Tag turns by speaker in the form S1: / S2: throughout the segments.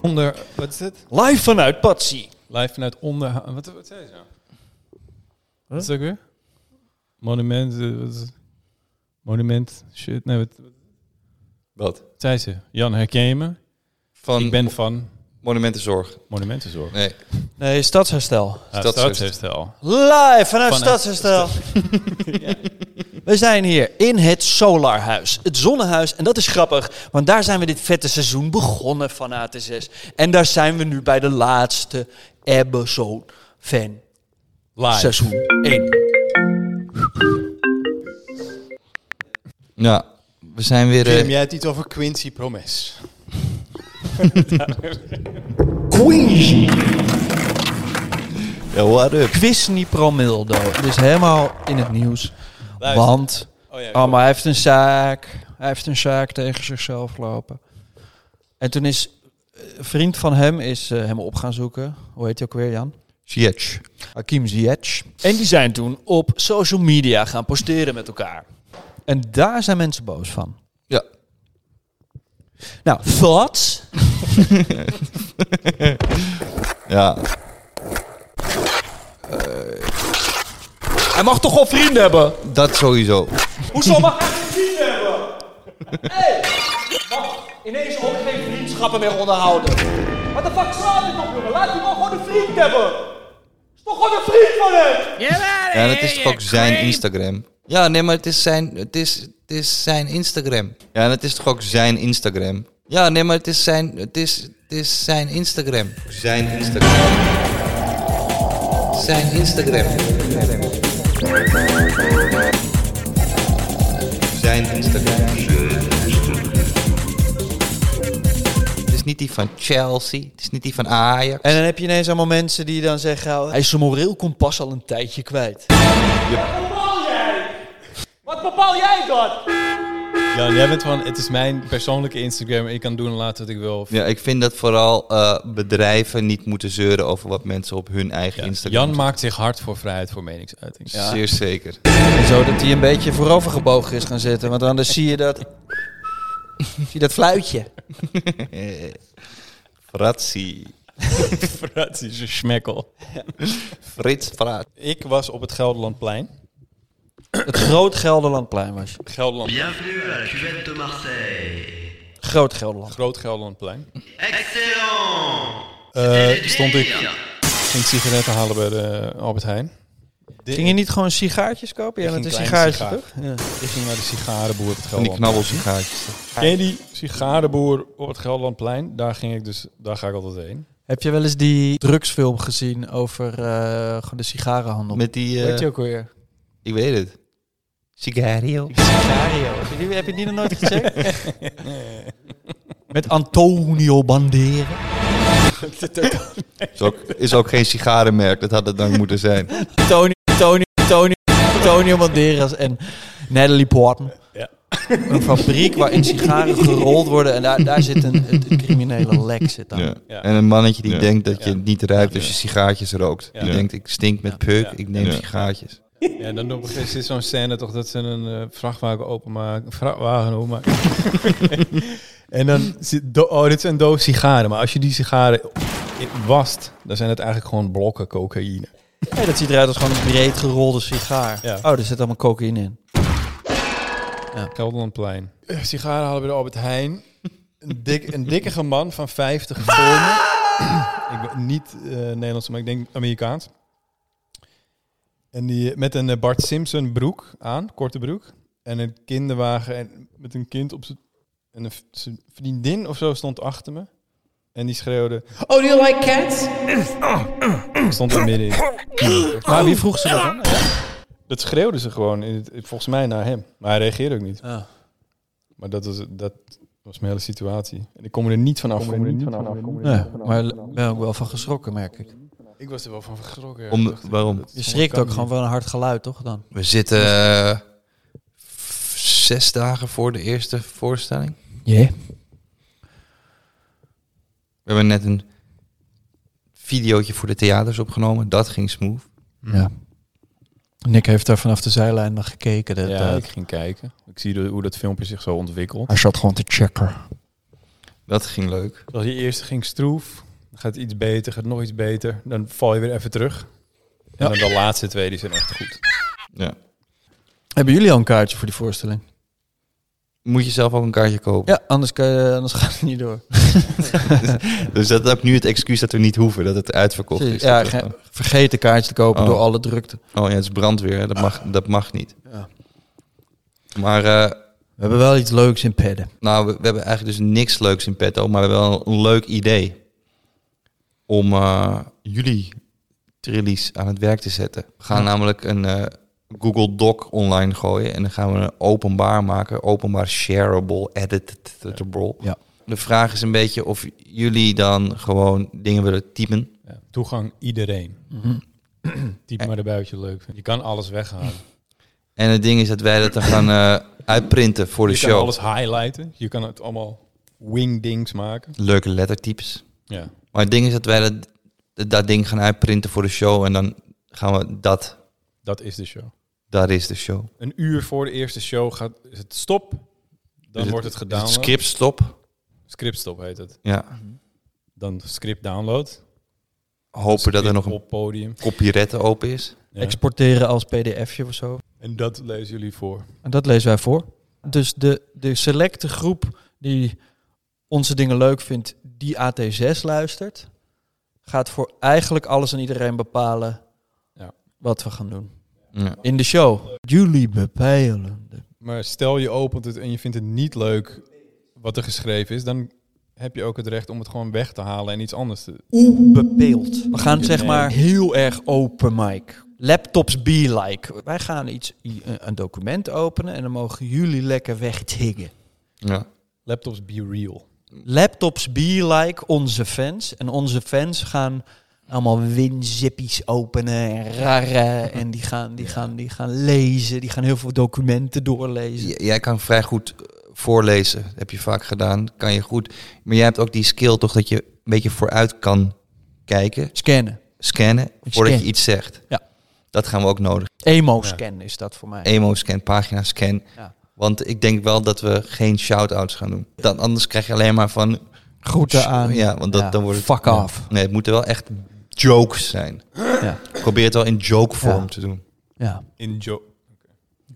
S1: Onder, wat is het?
S2: Live vanuit Patsy.
S1: Live vanuit onder... Wat, wat zei ze nou? Wat is dat ook weer? Monument... eh, wat is het? Monument... Shit, nee, wat, wat
S2: Wat?
S1: zei ze? Jan, herken je me?
S3: Van
S1: Ik ben van
S3: monumentenzorg.
S1: Monumentenzorg.
S3: Nee.
S2: Nee, Stadsherstel.
S1: Ja,
S3: Stadsherstel.
S1: Stadsherstel.
S2: Live
S1: Vanuit
S2: vanuit Stadsherstel. We zijn hier in het Solarhuis, het zonnehuis. En dat is grappig, want daar zijn we dit vette seizoen begonnen van AT6. En daar zijn we nu bij de laatste episode van
S1: Live.
S2: seizoen 1.
S3: Ja, we zijn weer... eh,
S4: Tim, jij hebt iets over Quincy Promes.
S3: ja, what up?
S2: Quisney Promildo, dus helemaal in het nieuws.
S1: Luister.
S2: Want,
S1: Oh, ja,
S2: oh, maar hij heeft een zaak. Hij heeft een zaak tegen zichzelf lopen. En toen is, eh, een vriend van hem is eh, hem op gaan zoeken. Hoe heet hij ook weer, Jan?
S3: Sietch.
S2: Hakim Ziyech. En die zijn toen op social media gaan posteren met elkaar. En daar zijn mensen boos van.
S3: Ja.
S2: Nou, thoughts?
S3: Ja.
S2: Hij mag toch wel vrienden hebben?
S3: Dat sowieso.
S2: Hoezo mag hij geen vrienden hebben? Hey, mag ineens ook geen vriendschappen meer onderhouden. Wat de fuck slaat dit op, jongen? Laat die man gewoon een vriend hebben. Is toch gewoon een vriend van hem?
S3: Ja, dat is toch ook zijn Instagram? Ja, nee, maar het is zijn, het is, het is zijn Instagram. Ja, dat is toch ook zijn Instagram? Ja, nee, maar het is zijn, het is, het is zijn Instagram. Zijn Instagram. Zijn Instagram. Zijn Instagram. Het is niet die van Chelsea. Het is niet die van Ajax.
S2: En dan heb je ineens allemaal mensen die dan zeggen... oh, Hij is zijn moreel kompas al een tijdje kwijt.
S5: bepaal jij? Wat bepaal jij dan?
S1: Jan, jij bent van... Het is mijn persoonlijke Instagram. Ik kan doen en laten wat ik wil.
S3: Ja, ik vind dat vooral eh, bedrijven niet moeten zeuren over wat mensen op hun eigen
S1: Ja,
S3: Instagram
S1: Jan maakt zich hard voor vrijheid voor meningsuiting.
S3: zetten. Zeer zeker.
S2: Zodat hij een beetje voorovergebogen is gaan zitten. Want anders zie je dat... zie je dat fluitje.
S3: Fratsi.
S1: Frat is een smekkel.
S3: Frits Frat.
S1: Ik was op het Gelderlandplein.
S2: Het Groot Gelderlandplein was je.
S1: Gelderland,
S6: Bienvenue à la cuvette de Marseille.
S2: Groot Gelderland.
S1: Groot Gelderlandplein.
S6: Excellent
S1: Eh, stond ik... Ging sigaretten halen bij de eh, Albert Heijn. De-
S2: Ging je niet gewoon sigaartjes kopen? Ja,
S1: Ik
S2: met een
S1: ging kleine
S2: sigaartje,
S1: sigaar.
S2: toch? Ja.
S1: Ik ging naar de sigarenboer op het
S3: Van die
S1: Gelderland.
S3: knabbelsigaartjes.
S1: Ken je die sigarenboer op het Gelderlandplein? Daar ging ik dus, daar ga ik altijd heen.
S2: Heb je wel eens die drugsfilm gezien over eh, gewoon de sigarenhandel?
S3: Met die... eh,
S2: Weet je ook weer?
S3: ik weet het. Sigario.
S2: Sigario. Heb je die, heb je die nog nooit gecheckt? Met Antonio Bandera.
S3: Is ook, is ook geen sigarenmerk. Dat had het dan moeten zijn.
S2: Tony, Tony, Tony, Antonio Banderas en Natalie Portman.
S1: Ja.
S2: Een fabriek waarin sigaren gerold worden en daar, daar zit een, een criminele lek zit aan.
S3: Ja.
S1: Ja.
S3: En een mannetje die
S7: Ja.
S3: denkt dat je
S1: Ja.
S3: het niet ruikt als je sigaartjes rookt.
S1: Ja.
S3: Die
S1: Ja.
S3: denkt, ik stink met peuk,
S1: Ja.
S3: ik neem
S7: Ja.
S3: sigaartjes.
S1: Ja, dan op een gegeven moment zit zo'n scène toch dat ze een eh, vrachtwagen openmaken. Vrachtwagen openmaken. en dan zit... do- oh, dit zijn doos sigaren. Maar als je die sigaren wast, dan zijn het eigenlijk gewoon blokken cocaïne.
S2: Nee, dat ziet eruit als gewoon een breed gerolde sigaar.
S8: Ja.
S2: Oh, er zit allemaal cocaïne in.
S8: Kelderlandplein.
S1: Eh, Sigaren halen bij de Albert Heijn. Een, dik, een dikkige man van 50 voor me. ik ben niet eh, Nederlands, maar ik denk Amerikaans. En die met een eh, Bart Simpson broek aan, korte broek. En een kinderwagen en met een kind op zijn... En een v- zijn vriendin of zo stond achter me. En die schreeuwde... Oh, do you like cats? Ik stond er middenin.
S2: Maar wie vroeg ze dat dan?
S1: Dat schreeuwde ze gewoon, in het, volgens mij, naar hem. Maar hij reageerde ook niet.
S2: Ah.
S1: Maar dat was, dat was mijn hele situatie. En ik kom er niet vanaf. Ik,
S2: Nee, maar ik ben ook wel van geschrokken, merk ik.
S1: ik was er wel van geschrokken. ja.
S3: Om,
S1: Ik dacht,
S3: waarom?
S2: Je schrikt ook gewoon van een hard geluid, toch dan?
S3: We zitten eh, f- zes dagen voor de eerste voorstelling.
S2: Ja.
S3: We hebben net een videootje voor de theaters opgenomen. Dat ging smooth.
S2: ja. Nick heeft daar vanaf de zijlijn naar gekeken. Dat,
S8: Ja,
S2: eh,
S8: ik ging kijken. Ik zie de- hoe dat filmpje zich zo ontwikkelt.
S2: hij zat gewoon te checken.
S3: Dat ging leuk.
S8: Als je eerst ging stroef, dan gaat het iets beter, gaat het nog iets beter. Dan val je weer even terug. En dan de laatste twee, die zijn echt goed.
S3: Ja.
S2: Hebben jullie al een kaartje voor die voorstelling?
S3: Moet je zelf ook een kaartje kopen.
S2: Ja, anders, kan je, anders gaat het niet door.
S3: Dus dat is ook nu het excuus dat we niet hoeven, dat het uitverkocht is.
S2: Ja,
S3: Dat is
S2: ge- vergeet een kaartje te kopen
S3: Oh.
S2: door alle drukte.
S3: Oh ja, het is brandweer. hè. Dat mag, dat mag niet.
S2: Ja.
S3: Maar eh,
S2: We hebben wel iets leuks in padden.
S3: nou, we, we hebben eigenlijk dus niks leuks in petto, maar we hebben wel een, leuk idee om eh, jullie trillies aan het werk te zetten. We gaan namelijk een eh, Google Doc online gooien en dan gaan we een openbaar maken, openbaar shareable, editable.
S2: Ja.
S3: De vraag is een beetje of jullie dan gewoon dingen willen typen.
S8: Ja. Toegang iedereen. Typ maar erbij wat je leuk vindt. Je kan alles weghalen.
S3: En het ding is dat wij dat dan gaan eh, uitprinten voor de
S8: je
S3: show.
S8: kan alles highlighten. Je kan het allemaal wingdings maken.
S3: Leuke lettertypes.
S8: Ja.
S3: Maar het ding is dat wij dat, dat, dat ding gaan uitprinten voor de show. En dan gaan we dat,
S8: Dat is de show.
S3: dat is de show.
S8: Een uur voor de eerste show gaat, is het stop. Dan
S3: Is Dus het-
S8: wordt het
S3: Is
S8: gedaan.
S3: het skip stop.
S8: Script stop heet het.
S3: Ja.
S8: Dan script download.
S3: Hopen dat er
S8: Script
S3: nog een
S8: op podium.
S3: kopierette open is.
S8: Ja.
S2: Exporteren als pdfje of zo.
S8: En dat lezen jullie voor.
S2: En dat lezen wij voor. Dus de, de selecte groep die onze dingen leuk vindt, die AT6 luistert, gaat voor eigenlijk alles en iedereen bepalen
S8: Ja.
S2: wat we gaan doen.
S3: Ja.
S2: In de show. Jullie bepalen. de-
S8: Maar stel je opent het en je vindt het niet leuk wat er geschreven is, dan heb je ook het recht om het gewoon weg te halen en iets anders te.
S2: Oeh, bepeeld. We gaan zeg
S8: Nee.
S2: maar heel erg open mic. Laptops be like. Wij gaan iets, i- een een document openen en dan mogen jullie lekker wegtiggen.
S3: Ja.
S8: Laptops be real.
S2: Laptops be like onze fans. En onze fans gaan allemaal winzippies openen en rarren. En die gaan, die, gaan, die gaan lezen. Die gaan heel veel documenten doorlezen.
S3: J- Jij kan vrij goed eh, voorlezen. Dat heb je vaak gedaan. Kan je goed. Maar jij hebt ook die skill toch dat je een beetje vooruit kan kijken.
S2: Scannen.
S3: Scannen voordat
S2: scan.
S3: je iets zegt.
S2: Ja.
S3: Dat gaan we ook nodig.
S2: Emo-scan is dat voor mij.
S3: emo-scan, pagina-scan.
S2: Ja.
S3: Want ik denk wel dat we geen shout-outs gaan doen. Dan, anders krijg je alleen maar van...
S2: Groeten aan.
S3: Ja, want dat, dan wordt het...
S2: Fuck off.
S3: Nee, het moeten wel echt jokes zijn.
S2: Ja.
S3: Probeer het wel in joke-vorm
S2: Ja.
S3: te doen.
S2: Ja.
S8: In jo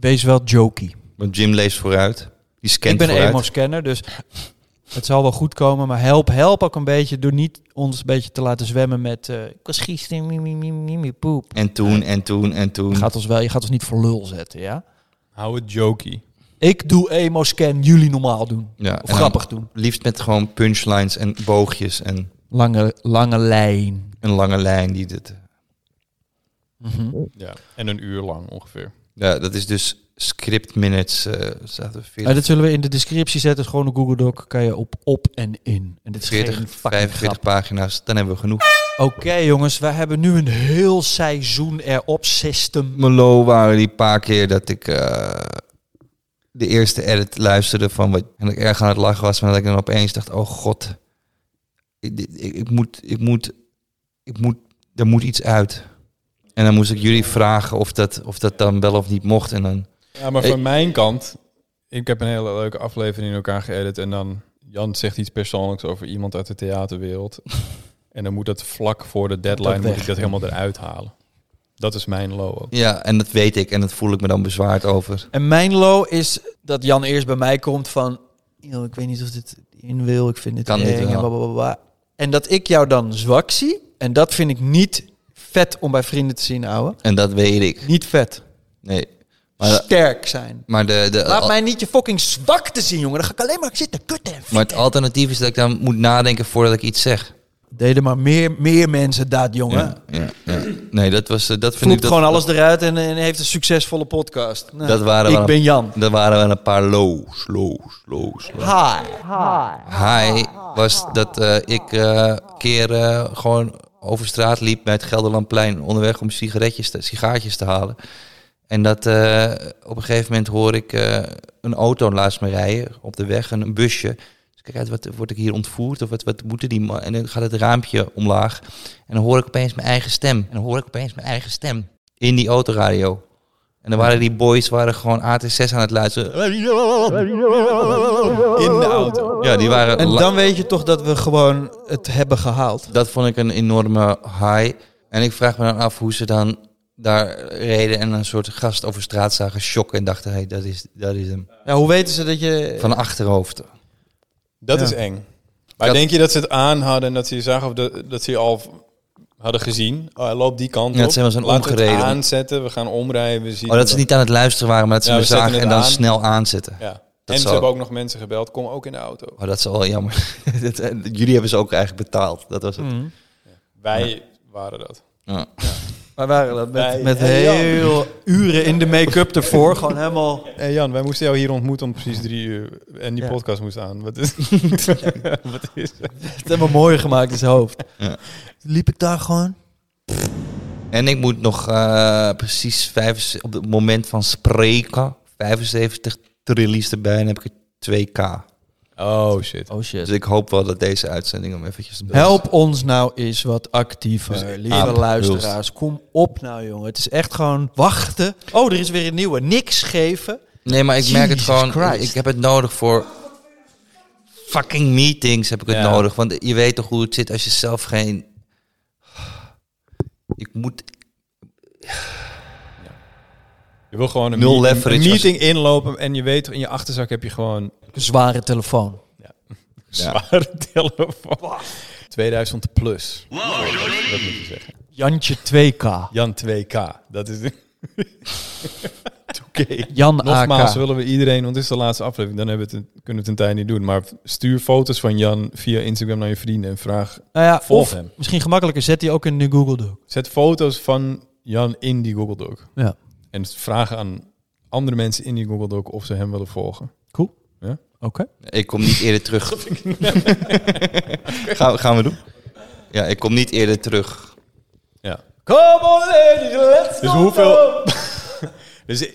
S2: Wees wel jokey.
S3: Want Jim leest vooruit. Die scant
S2: ik ben een
S3: vooruit.
S2: emo-scanner, dus het zal wel goed komen. Maar help, help ook een beetje door niet ons een beetje te laten zwemmen met... eh, ik was gisteren, mimi, mimi, mimi, poep.
S3: En toen, en toen, en
S2: Je
S3: toen.
S2: gaat ons wel, je gaat ons niet voor lul zetten, ja?
S8: Hou het jokey.
S2: Ik doe emo-scan, jullie normaal doen.
S3: Ja, en
S2: Of
S3: dan
S2: grappig doen.
S3: Liefst met gewoon punchlines en boogjes en
S2: Lange, lange lijn.
S3: een lange lijn. Die dit,
S8: Ja. En een uur lang ongeveer.
S3: ja, dat is dus script minutes. eh zaten we 40,
S2: dat zullen we in de descriptie zetten. is gewoon een Google Doc. Kan je op op en in. En dit is
S3: 40
S2: geen fucking
S3: 45
S2: grap.
S3: pagina's. Dan hebben we genoeg.
S2: Oké jongens, wij hebben nu een heel seizoen erop. System.
S3: Melo waren die paar keer dat ik eh, de eerste edit luisterde van wat en dat ik erg aan het lachen was, maar dat ik dan opeens dacht: oh god, ik, dit- ik, ik moet, ik moet, ik moet, er moet iets uit. En dan moest ik jullie vragen of dat, of dat dan wel of niet mocht. En dan,
S8: Ja, maar
S3: Hey.
S8: van mijn kant, ik heb een hele leuke aflevering in elkaar geëdit en dan Jan zegt iets persoonlijks over iemand uit de theaterwereld. en dan moet dat vlak voor de deadline moet
S2: weg.
S8: ik dat helemaal eruit halen.
S1: Dat is mijn low ook.
S3: Ja, en dat weet ik en dat voel ik me dan bezwaard over.
S2: En mijn low is dat Jan eerst bij mij komt van... "Yo, ik weet niet of dit in wil, ik vind dit
S3: Kan
S2: eng
S3: dit
S2: en
S3: wel?"
S2: blablabla." En dat ik jou dan zwak zie. En dat vind ik niet vet om bij vrienden te zien, ouwe.
S3: En dat weet ik.
S2: Niet vet.
S3: Nee. Maar,
S2: Sterk zijn.
S3: maar, de, de,
S2: Laat mij niet je fucking zwak te zien, jongen. Dan ga ik alleen maar zitten kutten. en
S3: Eh, maar het
S2: vetten.
S3: alternatief is dat ik dan moet nadenken voordat ik iets zeg.
S2: Deden maar meer, meer mensen dat, jongen.
S3: Ja, ja, ja. Nee, dat, was, eh, dat vind
S2: Vloept
S3: ik... Dat,
S2: gewoon alles eruit en, en heeft een succesvolle podcast. Nou,
S3: Dat waren wel
S2: ik
S3: een-
S2: ben Jan.
S3: dat waren wel een paar lows, lows, lows. lows.
S2: Hi.
S3: Hi was dat eh, ik eh, een keer eh, gewoon over straat liep bij het Gelderlandplein onderweg om sigaretjes te, sigaartjes te halen. En dat eh, op een gegeven moment hoor ik eh, een auto naast me rijden op de weg, een, een busje. Dus ik kijk uit, wat, word ik hier ontvoerd of wat, wat moeten die man? En dan gaat het raampje omlaag en dan hoor ik opeens mijn eigen stem. En dan hoor ik opeens mijn eigen stem in die autoradio. En dan waren die boys waren gewoon AT6 aan het luisteren.
S1: In de auto.
S3: Ja, die waren
S2: En
S3: la-
S2: dan weet je toch dat we gewoon het hebben gehaald.
S3: Dat vond ik een enorme high. En ik vraag me dan af hoe ze dan daar reden en een soort gast over straat zagen shocken en dachten, hé, hey, dat, is, dat is hem.
S2: Nou, hoe weten ze dat je...
S3: Van achterhoofd. Oh,
S1: Dat
S2: Ja.
S1: is eng. Maar
S3: Dat-
S1: denk je dat ze het aan hadden en dat ze je zagen of dat, dat ze je al v- hadden gezien? Oh, hij loopt die kant
S3: Ja,
S1: op.
S3: ze zijn
S1: Laten we het
S3: omgereden.
S1: aanzetten, we gaan omrijden, we zien
S3: Oh, dat ze
S1: hem
S3: niet aan het luisteren waren, maar dat ze
S1: Ja,
S3: me
S1: we zetten
S3: zagen en
S1: het
S3: dan
S1: aan.
S3: snel aanzetten.
S1: Ja.
S3: Dat
S1: en ze
S3: zou-
S1: hebben ook nog mensen gebeld, kom ook in de auto.
S3: Oh, dat is wel jammer. Dat- eh, Jullie hebben ze ook eigenlijk betaald. Dat was het.
S1: Wij waren dat.
S3: Ja.
S2: Wij waren dat met,
S1: Wij-
S2: met
S1: Hey, Jan.
S2: heel uren in de make-up ervoor. Gewoon helemaal...
S1: Hey Jan, wij moesten jou hier ontmoeten om precies drie uur. En die
S2: Ja.
S1: podcast moest aan. Wat is, wat is
S2: Het helemaal mooi gemaakt in zijn hoofd.
S3: Ja.
S2: Liep ik daar gewoon...
S3: En ik moet nog eh, precies vijf, op het moment van spreken, 75 trillies erbij en heb ik er 2k.
S1: Oh shit.
S2: Oh
S3: Dus
S2: shit.
S3: ik hoop wel dat deze uitzending hem eventjes...
S1: Dus-
S2: Help ons nou eens wat actiever, lieve
S3: Aap,
S2: luisteraars. Kom op nou, jongen. Het is echt gewoon wachten. Oh, er is weer een nieuwe. Niks geven.
S3: Nee, maar ik merk het
S2: Jesus
S3: gewoon.
S2: Christ.
S3: Ik heb het nodig voor fucking meetings heb ik het
S1: Ja.
S3: nodig. Want je weet toch hoe het zit als je zelf geen. Ik moet.
S1: Je wil gewoon een,
S3: Nul
S1: meeting,
S3: leverage
S1: een meeting inlopen en je weet toch, in je achterzak heb je gewoon
S2: Een zware telefoon.
S1: zware telefoon. 2000 plus.
S6: Wow, joli
S1: Dat moet je zeggen.
S2: Jantje Nou 2K.
S1: Jan 2K. Dat is. Oké.
S2: Jan
S1: Nogmaals
S2: AK.
S1: willen we iedereen, want dit is de laatste aflevering, dan hebben we het, kunnen we het een tijd niet doen. Maar stuur foto's van Jan via Instagram naar je vrienden en vraag.
S2: Nou ja,
S1: Volg
S2: of
S1: hem.
S2: misschien gemakkelijker, zet die ook in de Google Doc.
S1: Zet foto's van Jan in die Google Doc.
S2: Ja.
S1: En vraag aan andere mensen in die Google Doc of ze hem willen volgen.
S2: Oké.
S3: Ik kom niet eerder terug. gaan, we- gaan we doen? Ja, ik kom niet eerder terug.
S1: Ja.
S2: Come on ladies, let's
S1: Dus hoeveel. dus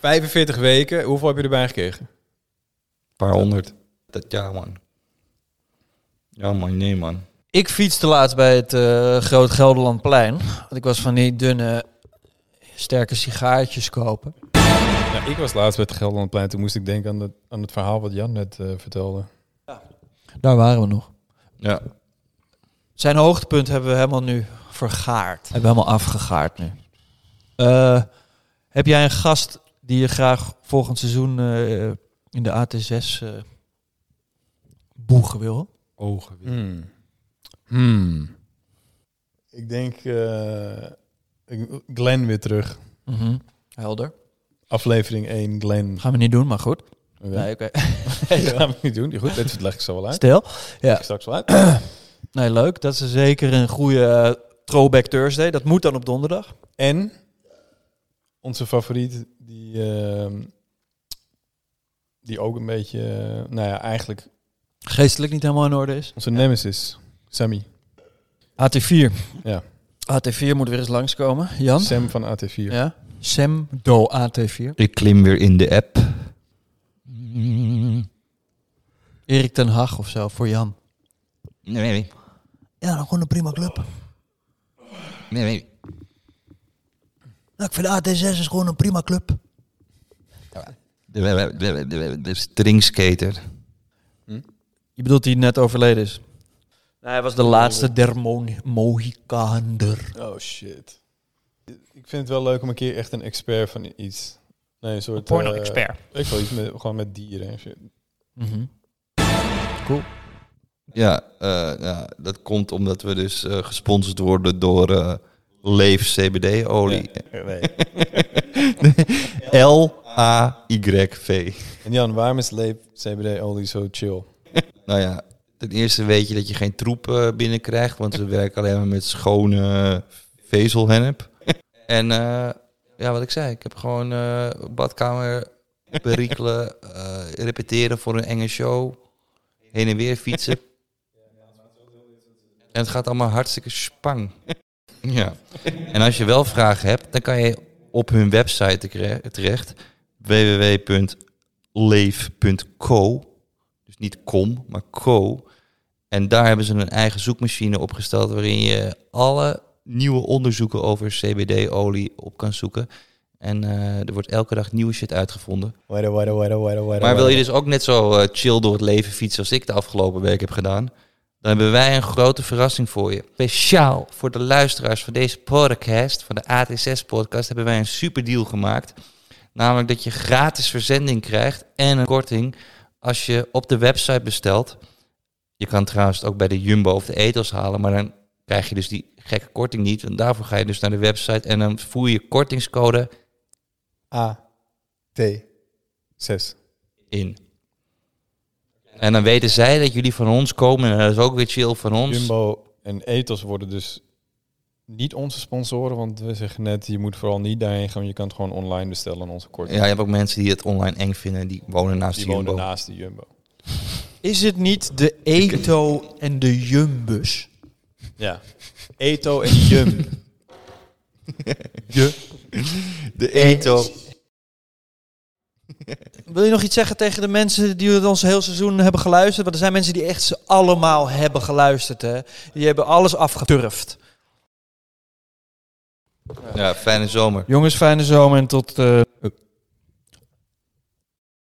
S1: 45 weken, hoeveel heb je erbij gekregen?
S3: Een paar honderd. Dat, ja, man. Ja, man, nee, man.
S2: Ik fietste laatst bij het eh, Groot Gelderlandplein. Want ik was van die dunne, sterke sigaartjes kopen.
S1: Ja, ik was laatst bij het Gelderlandplein, toen moest ik denken aan, dat- aan het verhaal wat Jan net eh, vertelde.
S2: Daar waren we nog.
S3: Ja.
S2: Zijn hoogtepunt hebben we helemaal nu vergaard. Hebben we helemaal afgegaard nu. Eh, heb jij een gast die je graag volgend seizoen eh, in de AT6 eh, boegen wil?
S3: Ogen
S1: Hmm. Hmm. Ik denk eh, ik- Glenn weer terug.
S2: Mhm. Helder.
S1: Aflevering 1, Glenn.
S2: Gaan we niet doen, maar goed.
S1: Nee,
S2: Nee, oké.
S1: dat gaan we niet doen. Goed, dit leg ik zo wel uit.
S2: Stil.
S1: Leg ik straks wel uit.
S2: Nee, leuk. Dat is zeker een goede eh, throwback Thursday. Dat moet dan op donderdag.
S1: En onze favoriet, die, ehm, die ook een beetje, eh, nou ja, eigenlijk
S2: Geestelijk niet helemaal in orde is.
S1: onze nemesis, Sammy.
S2: AT4.
S1: Ja.
S2: AT4 moet weer eens langskomen. Jan?
S1: Sam van AT4.
S2: Ja. Sam Do AT4.
S3: Ik klim weer in de app.
S2: Erik ten Hag of zo voor Jan.
S3: Nee, nee, nee.
S2: Ja, dan gewoon een prima club.
S3: nee, nee.
S2: Nou, ik vind AT6 is gewoon een prima club.
S3: De, de, de, de, de stringskater.
S2: Je bedoelt die net overleden is? Nou, Nee, hij was de laatste der Mo- Mohikander.
S1: Oh shit. Ik vind het wel leuk om een keer echt een expert van iets. Nee, een soort. eh,
S7: Porno-expert.
S1: ik wil iets met, gewoon met dieren en shit.
S2: Mhm.
S3: Ja, eh, ja, dat komt omdat we dus eh, gesponsord worden door eh, Leef CBD-olie. L-A-Y-V.
S1: En Jan, waarom is leep CBD-olie zo chill?
S3: Nou ja, ten eerste weet je dat je geen troep eh, binnenkrijgt, want we werken alleen maar met schone eh, vezelhennep. En eh, ja, wat ik zei, ik heb gewoon eh, badkamer perikelen, eh, repeteren voor een enge show, heen en weer fietsen. En het gaat allemaal hartstikke spang. Ja. En als je wel vragen hebt, dan kan je op hun website tere- terecht, www.leef.co. Dus niet com, maar co. En daar hebben ze een eigen zoekmachine opgesteld waarin je alle nieuwe onderzoeken over CBD-olie op kan zoeken. En eh, er wordt elke dag nieuwe shit uitgevonden.
S1: Wadda, wadda, wadda, wadda, wadda,
S3: Maar wil je dus ook net zo eh, chill door het leven fietsen als ik de afgelopen week heb gedaan? Dan hebben wij een grote verrassing voor je. Speciaal voor de luisteraars van deze podcast, van de AT6-podcast, hebben wij een super deal gemaakt. Namelijk dat je gratis verzending krijgt en een korting als je op de website bestelt. Je kan trouwens het ook bij de Jumbo of de Ethos halen, maar dan krijg je dus die gekke korting niet. En daarvoor ga je dus naar de website en dan voer je kortingscode
S1: A. T. 6.
S3: in. En dan weten zij dat jullie van ons komen en dat is ook weer chill van ons.
S1: Jumbo en Ethos worden dus niet onze sponsoren, want we zeggen net, je moet vooral niet daarheen gaan, want je kan het gewoon online bestellen en onze korting.
S3: Ja, je hebt ook mensen die het online eng vinden, die wonen naast
S1: Die
S3: de Jumbo.
S1: wonen naast de Jumbo.
S2: Is het niet de Eto en de Jumbus?
S1: Ja. Eto en Jum.
S3: De Eto.
S2: Wil je nog iets zeggen tegen de mensen die het ons heel seizoen hebben geluisterd? Want er zijn mensen die echt ze allemaal hebben geluisterd. Hè? Die hebben alles afgeturfd.
S3: Ja, fijne zomer.
S2: Jongens, fijne zomer en tot... eh,